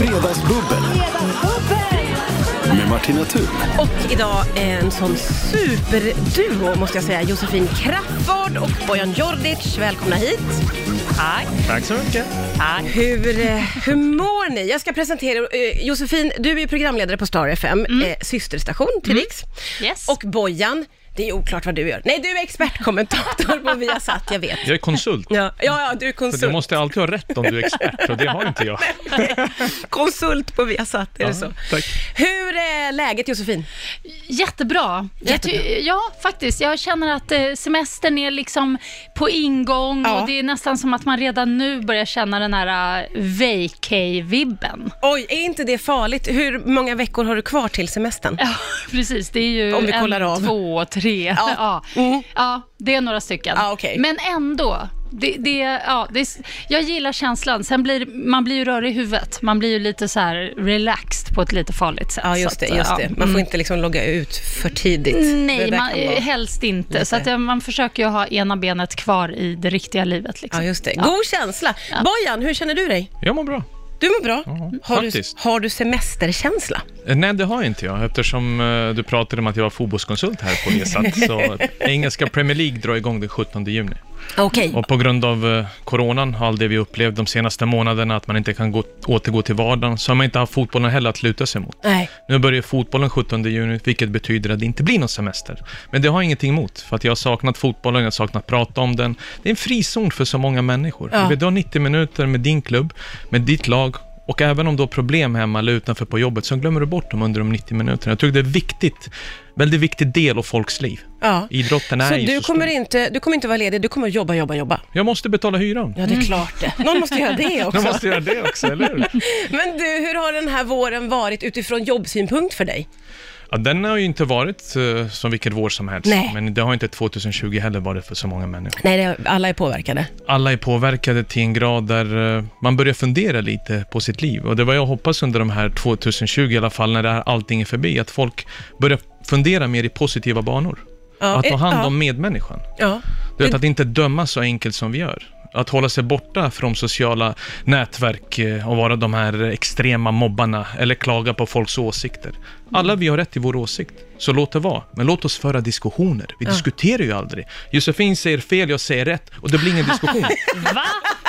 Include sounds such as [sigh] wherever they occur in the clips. Fredagsbubbel med Martina Thun. Och idag en sån superduo måste jag säga. Josefin Crafoord och Bojan Jordic. Välkomna hit. Tack. Tack så mycket. Hur, eh, hur mår ni? Jag ska presentera eh, Josefin, du är ju programledare på Star FM, eh, systerstation till Riks. Yes. Och Bojan, det är oklart vad du gör. Nej, du är expertkommentator på Viasat, jag vet. Jag är konsult. Ja, ja, ja du är Så du konsult. måste alltid ha rätt om du är expert och det har inte jag. Konsult på Viasat, är det så? Tack. Hur är läget Josefin? Jättebra. Jag ty- ja, faktiskt. Jag känner att eh, semestern är liksom på ingång Ja. och det är nästan som att man redan nu börjar känna den här uh, vacay-vibben. Oj, är inte det farligt? Hur många veckor har du kvar till semestern? Ja, [laughs] precis. Det är ju Om vi kollar en, av. två, tre. Ja. [laughs] Ja. Mm. Ja. det är några stycken. Ja, okej. Men ändå. Det, det, ja, det, är- jag gillar känslan. Sen blir man blir ju rörig i huvudet. Man blir ju lite så här relaxed på ett lite farligt sätt. Ja, Så just det. att, Just ja. det. Man Mm. får inte liksom logga ut för tidigt. Det Nej, där man, kan vara- helst inte. Så att eh, man försöker ju ha ena benet kvar i det riktiga livet. Liksom. Ja, just det. God känsla. Bojan, hur känner du dig? Jag mår bra. Du mår bra. har, du, faktiskt. har du semesterkänsla? Eh, Nej, det har inte jag eftersom eh, du pratade om att jag var fotbollskonsult här [laughs] på Viasat. Så eh, engelska Premier League drar igång den 17 juni. Okej. Och på grund av eh, coronan och allt det vi upplevt de senaste månaderna, att man inte kan gå, återgå till vardagen, så har man inte haft fotbollen heller att luta sig mot. Nej. Nu börjar fotbollen 17 juni, vilket betyder att det inte blir någon semester. Men det har jag ingenting emot, för att jag har saknat fotbollen, jag har saknat att prata om den. Det är en frizon för så många människor. Ja. Du vet, Du har 90 minuter med din klubb, med ditt lag, och även om du har problem hemma eller utanför på jobbet, så glömmer du bort dem under de 90 minuterna. Jag tycker det är viktigt, väldigt viktig del av folks liv. Ja. Idrotten är Så ju du så kommer, stor. inte, du kommer inte vara ledig, du kommer jobba, jobba, jobba. Jag måste betala hyran. Ja, det är klart det. Någon måste göra [laughs] det också. Jag måste göra det också, eller hur? Men du, hur har den här våren varit utifrån jobbsynpunkt för dig? [laughs] Ja, den har ju inte varit eh, som vilken vår som helst, Nej. men det har inte 2020 heller varit för så många människor. Nej, det, alla är påverkade. alla är påverkade till en grad där eh, man börjar fundera lite på sitt liv. Och det var jag hoppas under de här 2020 i alla fall, när det här allting är förbi, att folk börjar fundera mer i positiva banor. Ja, att ta eh, hand ja. Eh. om medmänniskan. Ja. Du vet, att inte döma så enkelt som vi gör. Att hålla sig borta från sociala nätverk eh, och vara de här extrema mobbarna eller klaga på folks åsikter. Mm. Alla vi har rätt till vår åsikt, så låt det vara. Men låt oss föra diskussioner. Vi diskuterar ju aldrig. Josefin säger fel, jag säger rätt och det blir ingen diskussion. [laughs] Va?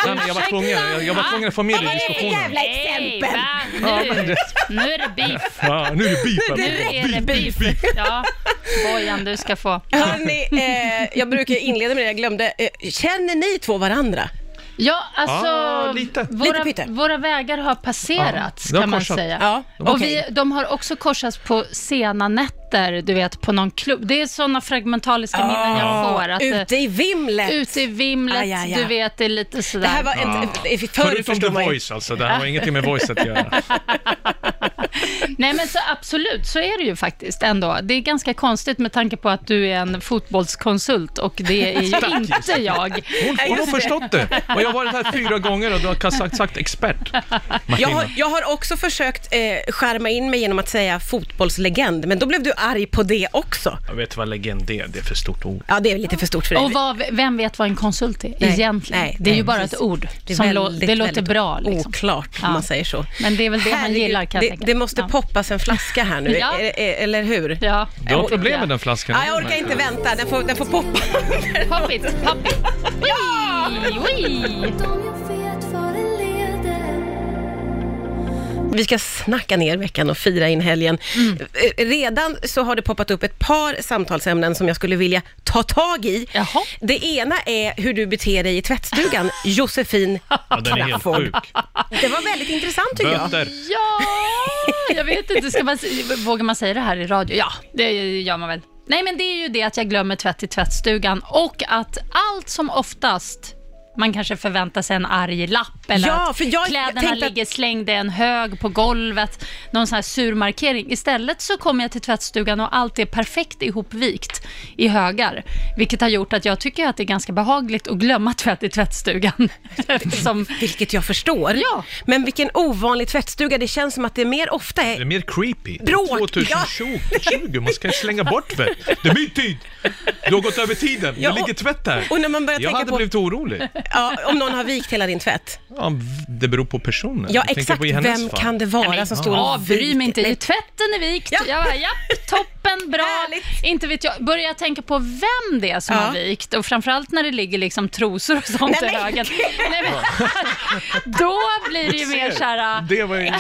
Nej, men jag var tvungen, jag, jag var tvungen att få med det i diskussionen. exempel! nu, nu är det [laughs] beef. Ja, nu är det beef. Nu här. är det beef. Ja, Bojan, du ska få. Hörni, eh, jag brukar inleda med det, jag glömde. Eh, känner ni två varandra? Ja, alltså, Ah, lite. Lite Våra, pytte. våra vägar har passerats, Ja, de har kan man korsat. säga. Ja, och okej. vi, de har också korsats på sena nätter, du vet, på någon klubb. Det är sådana fragmentaliska minnen jag får. Att, eh, Ute i vimlet! ute i vimlet, Aj, aj, aj. du vet, det är lite sådär. Det här var en, eh, förr Förutom The förstod man ju. Voice alltså, det här har ingenting med Voice [laughs] att göra. Nej men så absolut, så är det ju faktiskt ändå. Det är ganska konstigt med tanke på att du är en fotbollskonsult och det [laughs] är ju inte jag. Hon, hon har förstått det. Och jag har varit här fyra gånger och du har sagt, sagt expert. Jag Martina. har, jag har också försökt eh, skärma in mig genom att säga fotbollslegend, men då blev du arg på det också. Jag vet vad legend är, det är för stort ord. Ja, det är lite för stort för dig. Och vad, vem vet vad en konsult är Nej, egentligen? nej, det är nej, ju bara precis. ett ord. Det är som väldigt, lå- det låter väldigt bra. Liksom. Oklart, om Ja. man säger så. Men det är väl det han Herregud, gillar kan jag det, tänka. det måste ja. poppas en flaska här nu, [laughs] Ja. e- e- eller hur? Ja. Du har problem med den flaskan. Nej, jag orkar inte vänta. Den får, den får poppa. Pop it, pop it. Oj, oj. Vi ska snacka ner veckan och fira in helgen. Mm. Eh, Redan så har det poppat upp ett par samtalsämnen som jag skulle vilja ta tag i. Jaha. Det ena är hur du beter dig i [laughs] tvättstugan, Josefin Ja, den är helt Crafoord. sjuk. Det var väldigt intressant tycker jag. Böter. Ja, jag vet inte. Ska man, se- vågar man säga det här i radio? Ja, det gör man väl. Nej, men det är ju det att jag glömmer tvätt i tvättstugan och att allt som oftast man kanske förväntar sig en arg lapp eller Ja, att för jag kläderna tänkte att- ligger slängda i en hög på golvet, någon sån här surmarkering. Istället så kommer jag till tvättstugan och allt är perfekt ihopvikt i högar, vilket har gjort att jag tycker att det är ganska behagligt att glömma tvätt i tvättstugan. [laughs] Som, Vilket jag förstår. Ja. Men vilken ovanlig tvättstuga. Det känns som att det mer ofta Det är är... mer creepy. Bråk, ja. 2020, man ska slänga bort tvätt. Det är min tid. Du har gått över tiden, Ja, det ligger och- tvätt där. och när man börjar jag tänka hade på- blivit orolig. Ja, om någon har vikt hela din tvätt. Ja, det beror på personen. Ja, Jag tänker exakt. på i hennes Vem fall. kan det vara som står Ja, och bry mig inte. Nej, Ju tvätten är vikt. Alltså, Ja. Ja. Jag bara, japp, toppen, bra. Härligt. inte vet jag. Börjar jag tänka på vem det är som Ja. har vikt och framförallt när det ligger liksom trosor och sånt Nej, i men- högen. Nej, men, [laughs] då blir det ju mer så här... äh, Det var ju...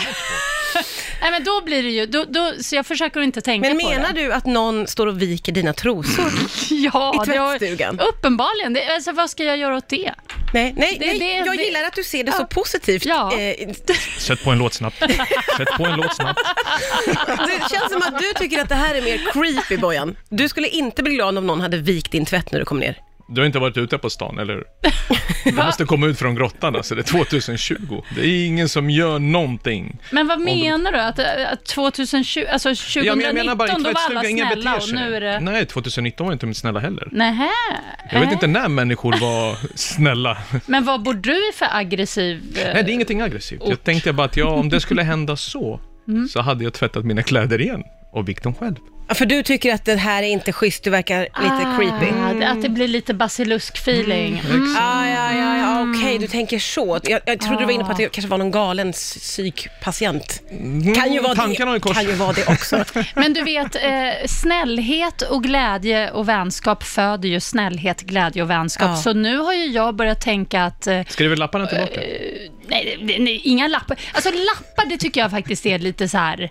Nej, men då blir det ju... Då, då, så jag försöker inte tänka Men på Mm. det. menar du att någon står och viker dina trosor? [laughs] Ja, I det har- tvättstugan? uppenbarligen. Det, alltså, vad ska jag göra åt det? Nej, nej, Det- nej. det- jag det- gillar att du ser det så Ja. positivt. Ja. Eh, Sätt på en låt snabbt. Sätt på en låt snabbt. Det känns som att du tycker att det här är mer creepy, Bojan. Du skulle inte bli glad om någon hade vikt din tvätt när du kom ner. Du har inte varit ute på stan, eller hur? Du måste komma ut från grottan, alltså. Det är 2020. Det är ingen som gör någonting. Men vad de- menar du? Att, eh, att 2020, alltså 2019, Ja, men jag menar bara, i då var alla tvättstugan, ingen snälla beter och nu är sig. det... Nej, 2019 var inte snälla heller. Nähä. Jag vet Nej. inte när människor var snälla. Men vad bor du i för aggressiv... eh, Nej, det är ingenting aggressivt. Jag Ort. Mm. tänkte bara att ja, om det skulle hända så, så hade jag tvättat mina kläder igen och vikt dem själv. Ja, För du tycker att det här är inte schysst, du verkar lite creepy. Ah, det- Att det Mm. blir lite basilusk-feeling. [laughs] Ah, ja, ja, ja, okej, du tänker så. Jag, jag trodde du var inne på att det kanske var någon galen s- psykpatient. Kan ju vara Mm, tankarna det, har ju kors. kan ju vara det [laughs] också. Men du vet, eh, snällhet och glädje och vänskap föder ju snällhet, glädje och vänskap. Ja. Så nu har ju jag börjat tänka att eh, Skriver lapparna tillbaka? Nej, nej, nej, inga lappar. Alltså lappar, det tycker jag faktiskt är lite så här...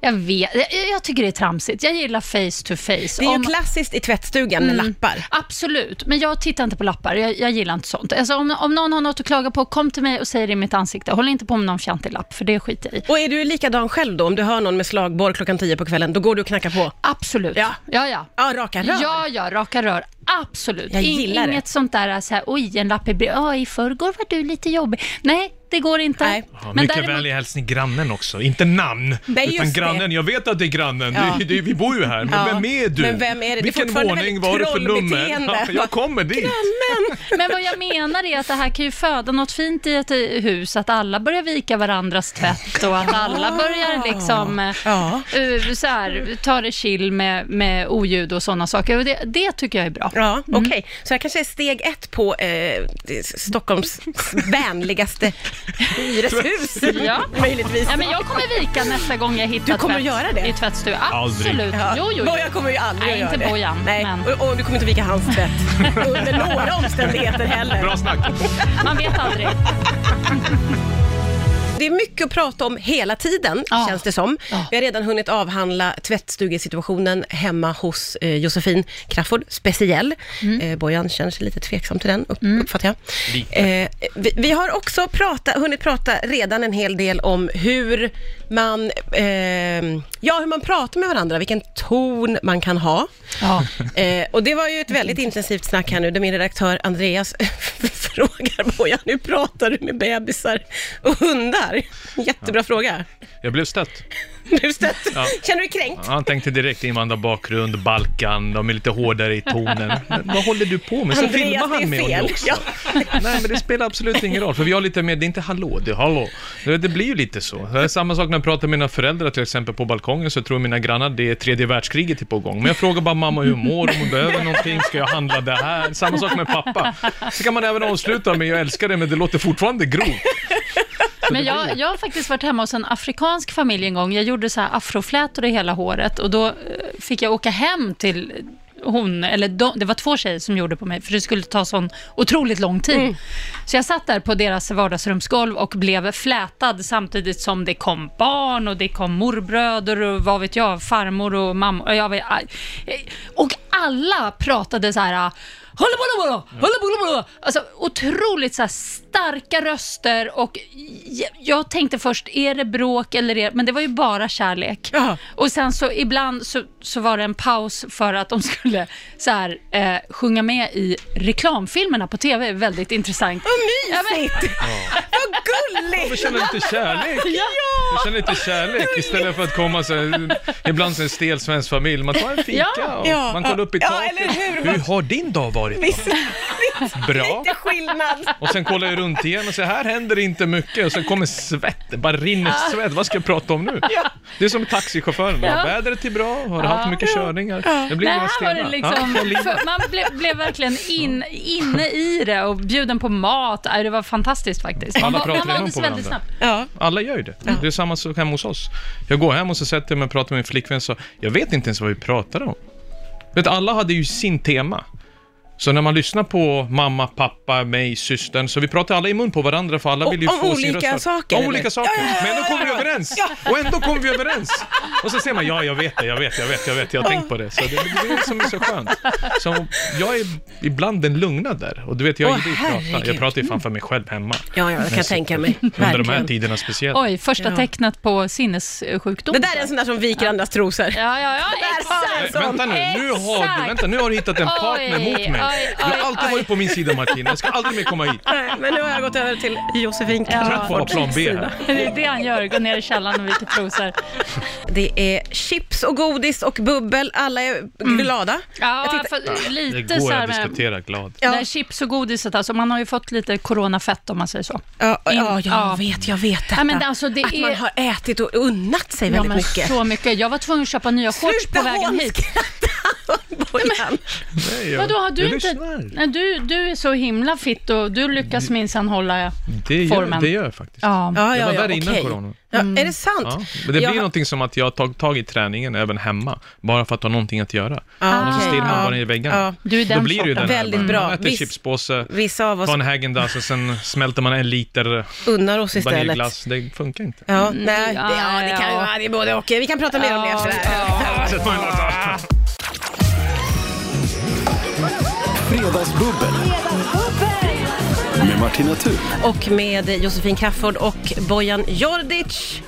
Jag vet, jag, jag tycker det är tramsigt. Jag gillar face to face. Det är ju Om- klassiskt i tvättstugan med lappar. Absolut, men jag tittar inte på lappar. Jag, jag gillar inte sånt. Alltså, om, om någon har något att klaga på, kom till mig och säg det i mitt ansikte. Håll inte på med någon fjantig lapp, för det skiter jag i. Och är du likadan själv då? Om du hör någon med slagborr klockan tio på kvällen, då går du och knackar på? Absolut. Ja. ja. ja. Ja, raka rör. Ja, ja, raka rör. Absolut. Jag In- gillar det. Inget sånt där, så här, oj, en lapp i brev. Ja, i förrgår var du lite jobbig. Nej, det går inte. Nej. Ja, mycket vänlig hälsning grannen också, inte namn. Nej, utan just det. grannen, jag vet att det är grannen, Ja. det, det, vi bor ju här. Men Ja. vem är du? Men vem är det? Det är Vilken fortfarande våning väldigt var du för nummer? trollbeteende. Ja, jag kommer dit. Men vad jag menar är att det här kan ju föda något fint i ett eh, hus, att alla börjar vika varandras tvätt och att alla börjar liksom eh, Ja. eh, så här, ta det chill med, med oljud och sådana saker. Och det, det tycker jag är bra. Ja, okej. Så här kanske är steg ett på eh, Stockholms vänligaste hyreshus. [laughs] Ja. Möjligtvis. Ja, men jag kommer vika nästa gång jag hittar Du kommer att tvätt göra det? i tvättstugan. Aldrig. Absolut. Ja. Jo, jo, Bojan jo. kommer ju aldrig Nej, att göra inte det. Bojan, Nej, men- och, och du kommer inte vika hans tvätt [laughs] under några omständigheter heller. Bra snack. Man vet aldrig. Det är mycket att prata om hela tiden, Ja. känns det som. Ja. Vi har redan hunnit avhandla tvättstugesituationen hemma hos eh, Josefin Crafoord, speciell. Mm. Eh, Bojan känner sig lite tveksam till den, upp, uppfattar jag. Lite. Eh, vi, vi har också prata, hunnit prata redan en hel del om hur man, ehm, ja, hur man pratar med varandra, vilken ton man kan ha. Ja. Eh, och det var ju ett väldigt intensivt snack här nu, där min redaktör Andreas [laughs] frågar Bojan, hur pratar du med bebisar och hundar? Jättebra fråga. Jag blev stött. Du stött. Ja. Känner du dig kränkt? Han tänkte direkt invandrarbakgrund, Balkan, de är lite hårdare i tonen. Men vad håller du på med? Så Andreas, filmar det är han med honom fel. också. Ja. Nej, men det spelar absolut ingen roll, för vi har lite mer, det är inte hallå, det är hallå. Du vet, Det blir ju lite så. Det är samma sak när jag pratar med mina föräldrar till exempel på balkongen, så tror mina grannar det är tredje världskriget är på gång. Men jag frågar bara mamma hur hon mår, om hon behöver någonting, ska jag handla det här? Samma sak med pappa. Så kan man även avsluta med jag älskar dig, men det låter fortfarande grovt. Men jag, jag har faktiskt varit hemma hos en afrikansk familj en gång. Jag gjorde så här afroflätor i hela håret och då eh, fick jag åka hem till hon, eller de, det var två tjejer som gjorde på mig, för det skulle ta sån otroligt lång tid. Så jag satt där på deras vardagsrumsgolv och blev flätad samtidigt som det kom barn och det kom morbröder och vad vet jag, farmor och mamma. Och, jag, vet- äh, och alla pratade så här Hålla bolla bolla, hålla bolla bolla. Alltså otroligt så här starka röster och j- jag tänkte först, är det bråk eller är Men det var ju bara kärlek. Ja. Och sen så ibland så, så var det en paus för att de skulle så här, eh, sjunga med i reklamfilmerna på TV. Väldigt intressant. Vad mysigt! Vad Jag gulligt! känner lite kärlek. Jag känner lite kärlek istället för att komma så här, ibland som en stel svensk familj. Man tar en fika och Ja. man kollar upp i Ja, taket. eller hur? hur har din dag varit? [laughs] Visst, visst Bra. Lite skillnad. Och sen kollar jag runt igen och säger, här händer det inte mycket. Och sen kommer svett, det bara rinner svett. Vad ska jag prata om nu? Det är som taxichauffören. Ja. Vädret är bra, har du haft mycket körningar? Det blir inga Det här var stenar. det Ja, liksom, det blir- för man blev, blev verkligen in, inne i det och bjuden på mat. Nej, Det var fantastiskt faktiskt. Man Alla va- pratar man redan vandes på väldigt varandra. snabbt. Ja. Alla gör ju det. Det är samma sak hemma hos oss. Jag går hem och så sätter jag mig och pratar med min flickvän och så, jag vet inte ens vad vi pratade om. Vet, du, alla hade ju sin tema. Så när man lyssnar på mamma, pappa, mig, systern, så vi pratar alla i mun på varandra för alla Och- vill ju om få sin olika röst hörd. saker, Om eller? olika saker. Men ändå kommer vi överens. Och ändå kommer vi överens. Och så säger man, ja jag vet det, jag vet, jag vet, jag vet, jag har tänkt på det. Så det, det är det som är så skönt. Så jag är ibland den lugna där. Och du vet, jag Åh, gillar ju att prata. Jag herregud. pratar ju fan för mig själv hemma. Ja, ja, jag kan tänka mig. Under de här Verkligen. tiderna speciellt. Oj, första Ja. tecknet på sinnessjukdom. Det där är en sån där som viker andras trosor. Ja, ja, ja, har vi exakt. en Vänta nu, nu har, du, Exakt. vänta, nu har du hittat en Oj, partner mot mig. oj, du har oj, alltid oj. varit på min sida Martina, jag ska aldrig mer komma hit. Nej, men nu har jag gått över till Josefin Trött på att ha Crafoords plan B sida. här. Det är det han gör, går ner i källaren och viker trosor. Det är chips och godis och bubbel. Alla är Mm. glada. Ja, Jag tänkte- för, Det lite så går här att med... diskutera glad. Ja. Det här chips och godiset, alltså, man har ju fått lite coronafett om man säger så. Ja, ja, jag Ja. vet, jag vet detta. Ja, men alltså, det att är- man har ätit och unnat sig väldigt men mycket. Så mycket. Jag var tvungen att köpa nya shorts på vägen hit. Bojan. Nej, jag- Vadå, har du jag inte... lyssnar. Mm. Nej, du, du är så himla fitt och du lyckas minsann hålla... Det gör, Formen. det gör jag faktiskt. Ja. Ja, ja, var ja, värre innan okej. corona. Ja, Mm. Är det sant? Ja, men det blir Jag- någonting som att jag har tagit tag i träningen även hemma, bara för att ha någonting att göra. Ja, Annars Ah, okej. stirrar man Ja. bara i väggarna. Ja. Du är Då den blir det ju den sorten. här, Väldigt man bra. äter Viss- chipspåse, Vissa av oss tar en Häagen-Dazs och sen smälter man en liter unnar oss istället. vaniljglass. Det funkar inte. Ja, nej, Mm. ja, det, ja, det kan ju ja. vara det är både och. Vi kan prata mer om det Ja, efter det här. ja. Sätt mig i lådan. Fredagsbubbel. Med Martina Thun. Och med Josefin Crafoord och Bojan Jordic.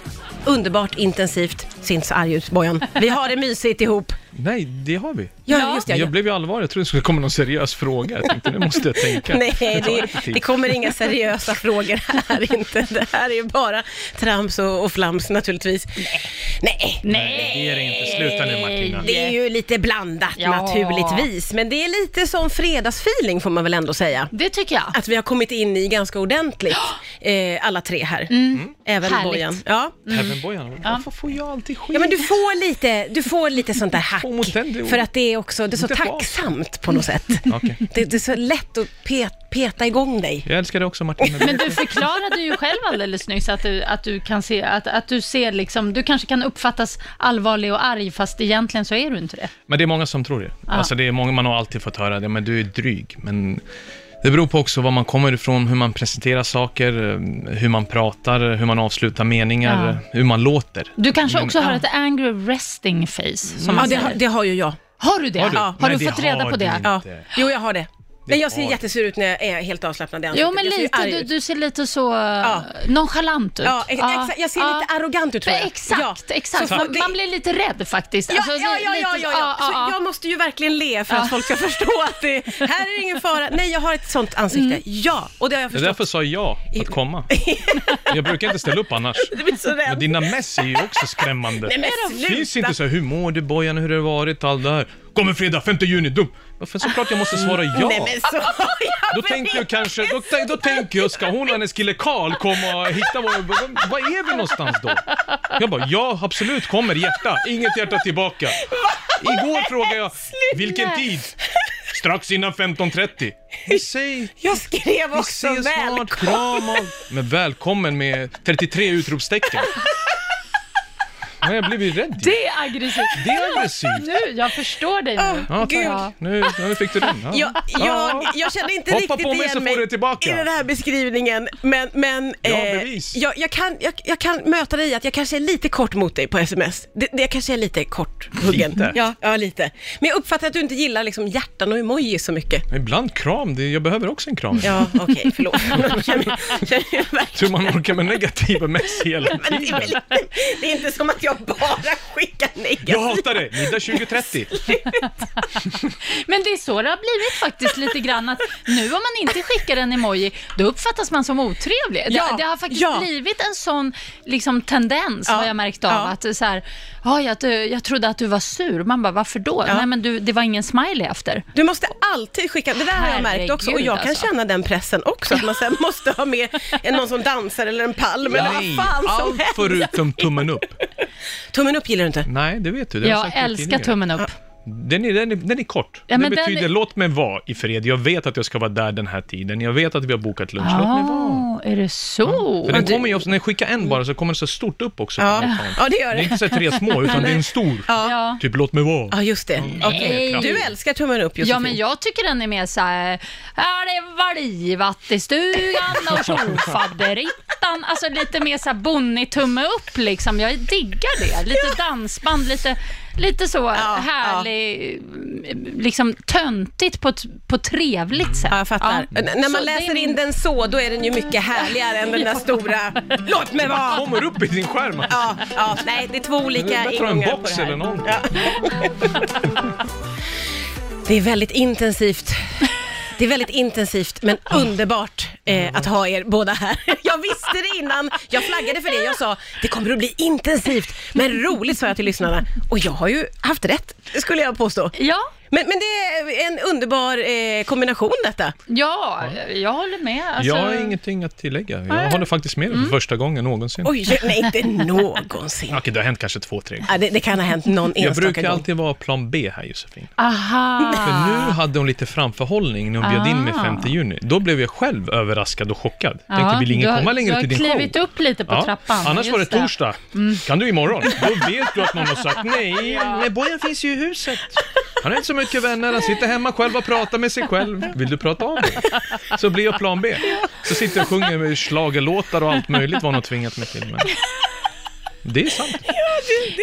Underbart intensivt. Syns arg ut, Bojan. Vi har det mysigt ihop. Nej, det har vi. Ja, Ja. just det. Jag Ja. blev ju allvarlig, jag trodde det skulle komma någon seriös fråga. Jag tänkte, nu måste jag tänka. [laughs] Nej, tar det, lite tid. det kommer inga seriösa frågor här inte. Det här är ju bara trams och, och flams naturligtvis. Nej. Nej. Mm. Det är det inte. Sluta nu Martina. Det är ju lite blandat Ja. naturligtvis, men det är lite som fredagsfeeling får man väl ändå säga. Det tycker jag. Att vi har kommit in i ganska ordentligt, eh, alla tre här. Mm. Även Härligt. Bojan. Ja. Även Bojan, varför får jag alltid skit? Ja men du får lite, du får lite sånt där hack. Får mot den, det är- För att det är också, det är så Inte bra. tacksamt på något sätt. Okej. Det, det är så lätt att pet, peta igång dig. Jag älskar dig också Martina. Men du förklarade ju själv alldeles nyss att du, att du kan se, att, att du ser liksom, du kanske kan uppfattas allvarlig och arg fast egentligen så är du inte det. Men det är många som tror det. Alltså det är många, man har alltid fått höra det, men du är dryg. Men det beror på också var man kommer ifrån, hur man presenterar saker, eh, hur man pratar, hur man avslutar meningar, Ja. eh, hur man låter. Du kanske också har ett angry resting face, som Ja man det, säger. har- det har ju jag. Har du det? Mm. Har du? Har Nej, du fått det reda har på du det? inte. Ja. Jo jag har det. Men jag ser eh, har- jättesur ut när jag är helt avslappnad i Jo, ansiktet. men Jag ser lite, arg du, ut. du ser lite så ja. nonchalant ut. Ja, ex- exakt. Jag ser ja. lite arrogant ut tror jag. Exakt, Ja. exakt. Så Man, får det- man blir lite rädd faktiskt. Ja, Alltså, ja, ja, lite- ja, ja, ja. Så jag måste ju verkligen le för att folk ska förstå att det, här är det ingen fara. Nej, jag har ett sånt ansikte. Mm. Ja, och det har jag Det är förstått. därför sa jag att komma. Jag brukar inte ställa upp annars. Jag blir så Men rädd. dina mess är ju också skrämmande. Nej, men Det finns sluta. inte så här, hur mår du Bojan, hur har det varit, allt det här. Kommer fredag, 5 juni, dum. Varför såklart jag måste svara ja. Nej men så [laughs] Då tänker jag kanske, då, tän- då tänker jag, ska hon och hennes kille Karl komma och hitta vår, v- vad är vi någonstans då? Jag bara, ja absolut kommer hjärta, inget hjärta tillbaka. Igår frågade jag, vilken tid? Strax [laughs] innan 15.30. Men Säg, Jag skrev vi också ses väl. snart, kram och... Men välkommen med 33 utropstecken. Men jag blev ju rädd ju. Det är aggressivt. Det är aggressivt. Nu, jag förstår dig nu. Åh, Ja, tack. Gud. Nu, nu fick du den. Ja. Jag, jag, Ja. jag kände inte Hoppa riktigt på mig igen så får du det tillbaka. i den här beskrivningen. Men, men Jag har bevis. jag, jag, kan, jag, jag kan möta dig i att jag kanske är lite kort mot dig på sms. Det, det kanske är lite kort huggen. Lite? Ja, ja, lite. Men jag uppfattar att du inte gillar liksom hjärtan och emojis så mycket. Men Ibland kram, det, jag behöver också en kram. Ja, okej, förlåt. [laughs] Jag känner- jag känner verkligen- Hur man orkar med negativa mess hela Men det, är tiden. väl inte, det är inte som att jag bara skicka negativt. Jag hatar dig! Middag 2030. Men det är så det har blivit faktiskt lite grann att nu om man inte skickar en emoji, då uppfattas man som otrevlig. Ja, det, det har faktiskt ja. blivit en sån liksom, tendens, Ja, har jag märkt av, ja. att så här, "Ja, jag, du, jag trodde att du var sur. Man bara, varför då? Ja. Nej, men du, det var ingen smiley efter. Du måste alltid skicka, det där har jag märkt också och Herregud, jag kan alltså. känna den pressen också, att man sen [laughs] måste ha med en, någon som dansar eller en palm eller Nej, vad fan som allt helst. förutom tummen upp. Tummen upp gillar du inte. Nej, det vet du. Det har Jag sagt i älskar tidningar. tummen upp. Den är, den är, den är kort. Ja, det men den betyder, är- låt mig vara i fred. Jag vet att jag ska vara där den här tiden. Jag vet att vi har bokat lunch. Låt mig vara. Ah, är det så? För den du- kommer ju, också- när jag skickar en bara så kommer den så stort upp också. på Ja. den här. ja, det gör Det är det. inte så här tre små, utan det är en stor. Ja. Typ, låt mig vara. Ja, just det. Okej. Nej. Du älskar tummen upp Josefin. Ja, men jag tycker den är mer så här, här det var livat i stugan och tjofaderittan. Alltså lite mer så här Bonnie-tumme upp liksom. Jag diggar det. Lite dansband, lite, lite så härlig, liksom töntigt på ett, på ett trevligt sätt. Ja, jag fattar. Ja. N- När man Så det läser är min- in den så, då är den ju mycket härligare än [laughs] den där stora “Låt mig vara!” Kommer upp i din skärm. Ja, alltså- ja, nej, det är två Det är olika bättre att ha en ingångar på box det här. eller någon. Det är väldigt intensivt. Det är väldigt intensivt, men underbart eh, att ha er båda här. Jag visste det innan, jag flaggade för det. Jag sa, det kommer att bli intensivt, men roligt sa jag till lyssnarna. Och jag har ju haft rätt, skulle jag påstå. Ja, Men, men det är en underbar eh, kombination detta. ja, jag håller med. Alltså, Jag har ingenting att tillägga. Jag håller faktiskt med Mm. dig för första gången någonsin. Oj, nej inte någonsin. Okej, det har hänt kanske två, tre gånger. Ja, det, det kan ha hänt någon Jag enstaka brukar gång. alltid vara plan B här, Josefin. Aha. För Ah. nu hade hon lite framförhållning när hon bjöd in mig 5 juni. Då blev jag själv överraskad och chockad. Tänkte, vill du ingen har- komma längre du till din har show? klivit upp lite på trappan. Annars var det just Mm. torsdag. Kan du imorgon? Då vet du att man har sagt [laughs] nej. Nej, Bojan finns ju i huset. Han har inte så mycket vänner, han sitter hemma själv och pratar med sig själv. Vill du prata av dig? Så blir jag plan B. Så sitter jag och sjunger med schlagerlåtar och allt möjligt vad hon har tvingat mig till. Men... Det är sant.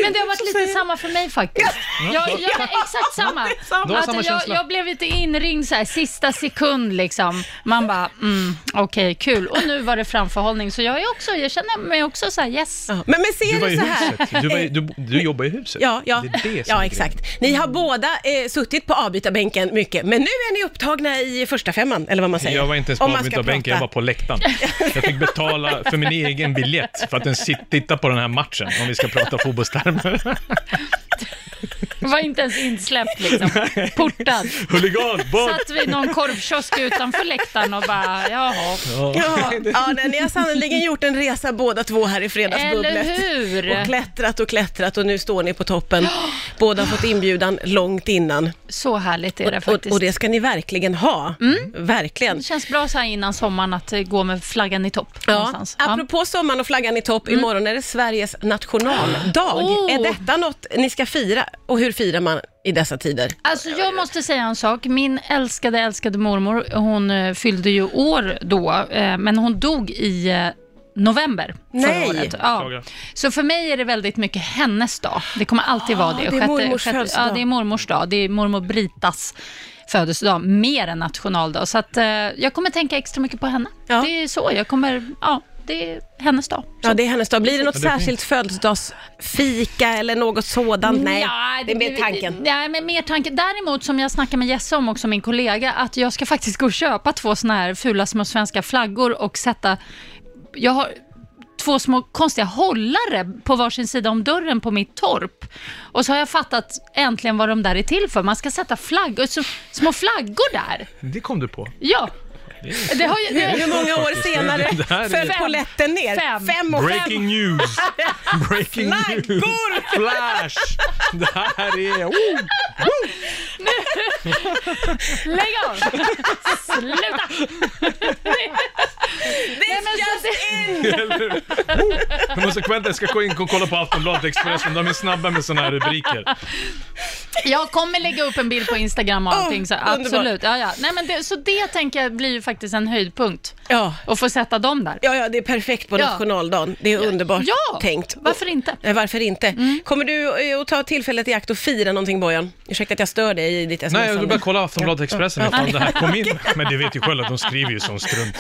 Men det har varit lite samma för mig faktiskt. Jag, jag, exakt samma. Du har Att samma jag, känsla. jag blev lite inringd så här, sista sekund liksom. Man bara, mm, okej, kul. Och nu var det framförhållning, så jag, är också, jag känner mig också så här, yes. Ja, Men, men Du ser var du i så här? huset. Du, var i, du, du jobbar i huset. Ja, ja. Det är det som är grejen. ja exakt. Ni har båda eh, suttit på avbytarbänken mycket, men nu är ni upptagna i första femman, eller vad man säger. Jag var inte ens Om på man ska avbytarbänken, jag prata. var på läktaren. Jag fick betala för min egen biljett för att ens sit- titta på den här matchen, om vi ska prata fotbollstermer. Var inte ens insläppt liksom. Portad. [laughs] Huligan, bort! Satt vid någon korvkiosk utanför läktaren och bara, jaha. Ja, ja nej, ni har sannerligen gjort en resa båda två här i Fredagsbubblet. Eller hur? Och klättrat och klättrat och nu står ni på toppen. Båda har fått inbjudan långt innan. Så härligt är det Och, faktiskt. Mm. och det ska ni verkligen ha. Verkligen. Det känns bra så här innan sommaren att eh, gå med flaggan i topp. Ja. någonstans. Ja. Mm. Apropå sommaren och flaggan i topp, imorgon är det Sveriges nationaldag. [gasps] Oh. Är detta något ni ska fira? Och hur firar man i dessa tider? Alltså jag måste säga en sak. Min älskade, älskade mormor, hon eh, fyllde ju år då, eh, men hon dog i eh, november förra Nej. året. Ja. Klagar. Så för mig är det väldigt mycket hennes dag. Det kommer alltid vara det. Ah, det är Sjätte- mormors sjätte- födelsedag. Ja, det är mormors dag. Det är mormor Britas födelsedag, mer än nationaldag. Så att, eh, jag kommer tänka extra mycket på henne. Ja. Det är så jag kommer... Ja, det är hennes dag. Ja, det är hennes dag. Blir det något det är särskilt födelsedagsfika eller något Mm, sådant? Nej, Nja, det är mer blir- tanken. Nej, men mer tanken. Däremot, som jag snackade med Jesse om också, min kollega, att jag ska faktiskt gå och köpa två såna här fula små svenska flaggor och sätta... Jag har två små konstiga hållare på varsin sida om dörren på mitt torp. Och så har jag fattat äntligen vad de där är till för. Man ska sätta flaggor, så, små flaggor där. Det kom du på. Ja. Det har ju... Hur [laughs] Det, många år Faktiskt, det- senare det här är- föll Fem. polletten ner? Fem. och fem. [laughs] Breaking news! Breaking news! Flash! Det här är... Oh, lägg av! [laughs] Sluta! Nej, men så det, Oh. jag måste kvällen, jag ska gå in och kolla på Aftonbladet Expressen, de är snabba med såna här rubriker. Jag kommer lägga upp en bild på Instagram och Åh, allting, så Ah, underbart. absolut. Ja, ja. Nej, men det, så det tänker jag blir ju faktiskt en höjdpunkt, Ja. att få sätta dem där. Ja, ja, det är perfekt på Ja. nationaldagen. Det är underbart Ja, tänkt. varför inte? Nej, varför inte? Mm. Kommer du eh, att ta tillfället i akt och fira någonting Bojan? Ursäkta att jag stör dig i ditt sms. Nej, jag vill bara kolla Aftonbladet Expressen [laughs] ifall det här kom in. Men du vet ju själv att de skriver ju som strunt.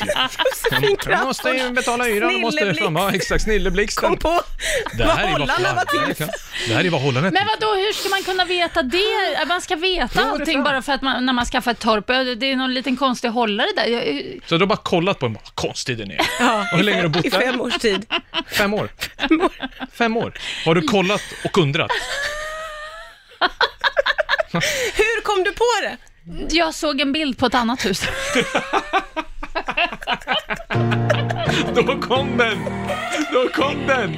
ju. De måste ju betala hyran, de måste... Snilleblixt. Ja, exakt. Snilleblixten. Kom på Det vad här är vad Holland var till flagg- Det här är vad Holland är Men till. vad då? hur ska man kunna veta det? Ah. Man ska veta är allting fan. bara för att man, när man skaffar ett torp. Ja, Det är någon liten konstig hållare där. Jag, eh, Så de har bara kollat på en, vad konstig den är. Och hur länge har du i bott där? fem års tid. Fem år. Fem år. Har du kollat och undrat? Hur kom du på det? jag såg en bild på ett [laughs] annat hus. [laughs] Då kom den! Då kom den!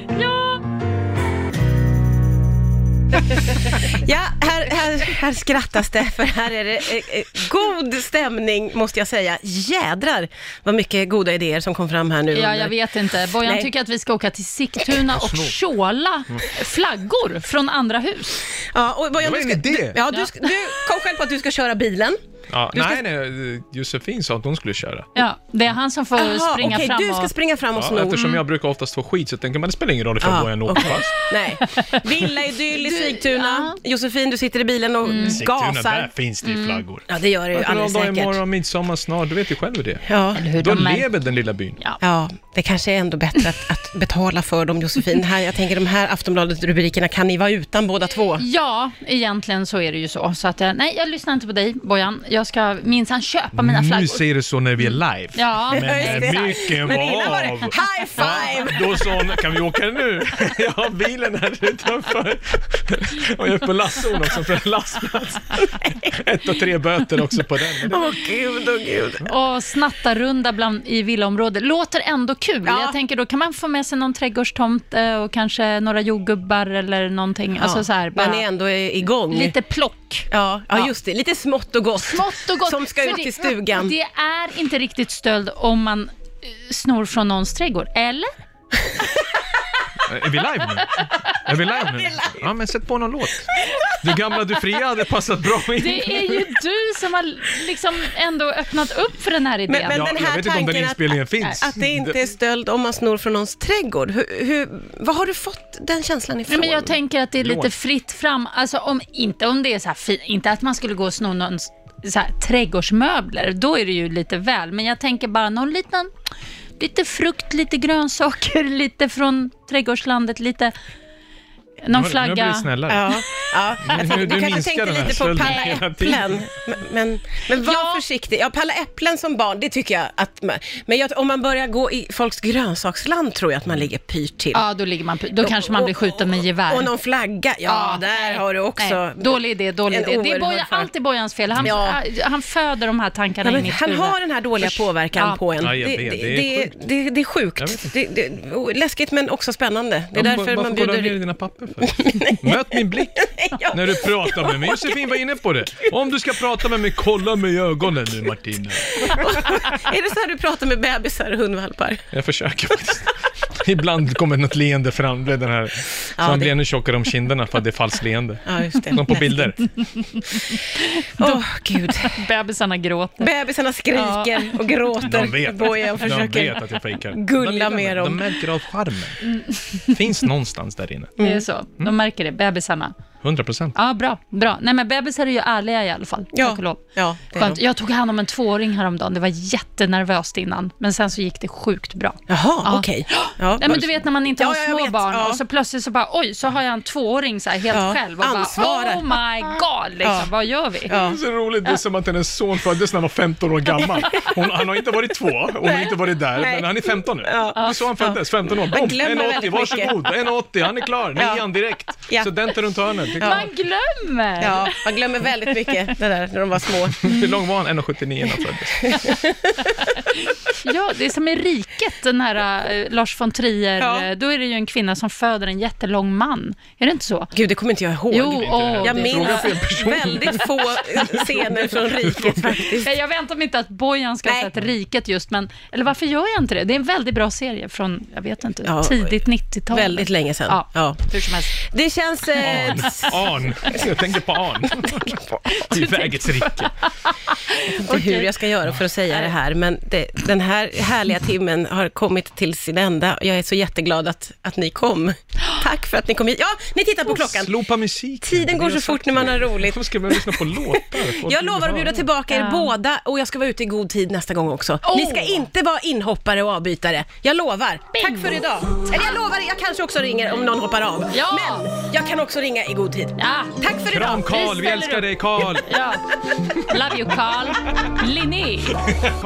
Ja, här, här, här skrattas det, för här är det eh, eh, god stämning, måste jag säga. Jädrar vad mycket goda idéer som kom fram här nu. Ja, under- jag vet inte. Bojan Nej. tycker att vi ska åka till Sigtuna och tjåla flaggor från andra hus. Ja, och Bojan, Det var du en ska- idé. Du, ja, du, ska- du kom själv på att du ska köra bilen. Ja, nej, nej, Josefin sa att hon skulle köra. Ja, det är han som får Jaha, springa okej, fram du ska och... springa fram och Ja, sno. eftersom jag brukar oftast få skit så tänker man det spelar ingen roll ifall Mm. Ja, ah, jag åker okej. fast. Nej. Villaidyll i [laughs] Du- Mm. Sigtuna. Josefin, du sitter i bilen och Sigtuna, där gasar. finns det ju flaggor. Ja, det gör du ju alldeles Nationaldag säkert. imorgon, midsommar snart, du vet ju själv hur det är. Ja. Hur Då de märker- lever den lilla byn. ja, det kanske är ändå bättre att, att betala för dem, Josefin. Här, jag tänker de här Aftonbladet-rubrikerna kan ni vara utan båda två. Ja, egentligen så är det ju så. så att, eh, nej, jag lyssnar inte på dig, Bojan. Jag ska minsann köpa mina alltså- Nu flaggor. säger du så när vi är live. Ja, [laughs] Men det. när mycket Men innan var var det av. high five! Då sa hon, kan vi åka nu? [laughs] Jag har bilen här utanför. Och jag är på Lasse också för en [laughs] lastplats. Ett och tre böter också på den. Åh gud, åh gud. och snattarrunda bland, i villaområdet. Låter ändå kul. Ja. Jag tänker då kan man få med sig någon trädgårdstomte och kanske några jordgubbar eller någonting. Alltså så här, Man bara är ändå i- igång. lite plock. Ja, ja, just det. Lite smått och gott. Smått och gott. Som ska För ut det- till stugan. Det är inte riktigt stöld om man eh, snor från någons trädgård, eller? Är vi live nu? Är vi live nu? Ja, men sätt på någon låt. Du gamla, du fria hade passat bra in. Det är ju du som har liksom ändå öppnat upp för den här idén. Men- men- Ja, den här jag vet inte om den tanken att- inspelningen finns. Att det inte är stöld om man snor från någons trädgård. Hur, hur, vad har du fått den känslan ifrån? Nej, men jag tänker att det är lite Lån. fritt fram. Alltså om, inte om det är så här fi- inte att man skulle gå och sno någons så här, trädgårdsmöbler, då är det ju lite väl. Men jag tänker bara någon liten, lite frukt, lite grönsaker, [laughs] lite från trädgårdslandet, lite någon Nu- Nu blir flagga. det snällare. Ja, [laughs] ja. Jag tänkte- nu du kanske minskar tänkte den här lite på stölden palla hela äpplen. Men, men, men var Ja. försiktig. Ja, palla äpplen som barn, det tycker jag att man, Men jag, om man börjar gå i folks grönsaksland tror jag att man ligger pyrt till. Ja, då, ligger man, på- då kanske man blir skjuten med gevär. Och någon flagga, ja, där nej, har du också. Nej, dålig idé, dålig en idé. Det är oerhörd Bojan, fara. alltid Bojans fel. Han, Ja. han föder de här tankarna Ja, men in i han huvudet. har den här dåliga påverkan Ja. på en. Ja, jag det, vet. det, Det är det, det, det är Jag sjukt. vet Det, det, o- läskigt men också spännande. Det är Ja, därför varför man bjuder kollar du ner in. dina [laughs] papper för? Möt min blick Ja. när du pratar med mig. Josefin var inne på det. Om du ska prata med mig, kolla mig i ögonen nu Martina. är det så här du pratar med bebisar och hundvalpar? Jag försöker faktiskt. [laughs] Ibland kommer något leende fram, blev den här. Så Ja, han det- blir ännu tjockare om kinderna för att det är falskt leende. Ja, just det. Som på [laughs] bilder. Åh, [laughs] gud. Bebisarna gråter. Bebisarna skriker och De gråter. vet, Bojan de försöker. vet att jag fejkar. gulla De gillar med mig. dem. De märker av charmen. Finns någonstans där inne. Mm. Det är så. De Mm. märker det, bebisarna. 100 procent. Ja, bra. bra. Nej, men bebisar är ju ärliga i alla fall. Ja. Tack och lov. Ja, det är Skönt. de. Jag tog hand om en tvååring häromdagen. Det var jättenervöst innan, men sen så gick det sjukt bra. Jaha, Ja. okej. Ja. Nej, men du vet när man inte Ja, har ja, jag små vet. barn Ja. och så plötsligt så bara oj, så har jag en tvååring så här helt Ja. själv och Ansvarar. bara oh my god, liksom, Ja. vad gör vi? Ja. Det är så roligt, det är som att hennes son föddes när han var 15 år gammal. Hon, han har inte varit två, hon har inte varit där, Nej. men han är 15 nu. Ja. Det är så han föddes, 15 år. Boom, glömmer väldigt 1,80, mycket. varsågod, 1,80, han är klar, Ja. nian direkt. Ja. Studenter runt hörnet. Det är klart. Man glömmer! Ja, man glömmer väldigt mycket det där när de var små. Hur lång var han? 1,79 när han föddes. Ja, det är som i Riket, den här eh, Lars von Trier. eh, Då är det ju en kvinna som föder en jättelång man. Är det inte så? Gud, det kommer inte jag ihåg. Jo, åh, jag det- minns Ja. väldigt [laughs] få scener från riket faktiskt. [laughs] Nej, Jag väntar mig inte att Bojan ska Nej. ha sett Riket just, men... Eller varför gör jag inte det? Det är en väldigt bra serie från, jag vet inte, Ja, tidigt 90-tal. Väldigt länge sedan. Ja, Ja. hur som helst. Det känns... Eh, Arn. Jag tänker på Arn. I vägets rike. inte hur jag ska göra för att säga det här, men det, den här härliga timmen har kommit till sin ända. Jag är så jätteglad att, att ni kom. Tack för att ni kom hit. Ja, ni tittar på klockan. Slopa musiken. Tiden går Vi har så sagt fort när man det. har roligt. Varför ska man lyssna på låtar? Folk Jag vill lovar att höra. bjuda tillbaka er Ja. båda och jag ska vara ute i god tid nästa gång också. Ni ska Åh! inte vara inhoppare och avbytare. Jag lovar. Tack för idag. Eller jag lovar, jag kanske också ringer om någon hoppar av. Ja. Men jag kan också ringa i god tid. Ja. Tack för Kram idag. Karl, vi ställer älskar upp. dig Karl! Ja. Love you, Carl. Linné.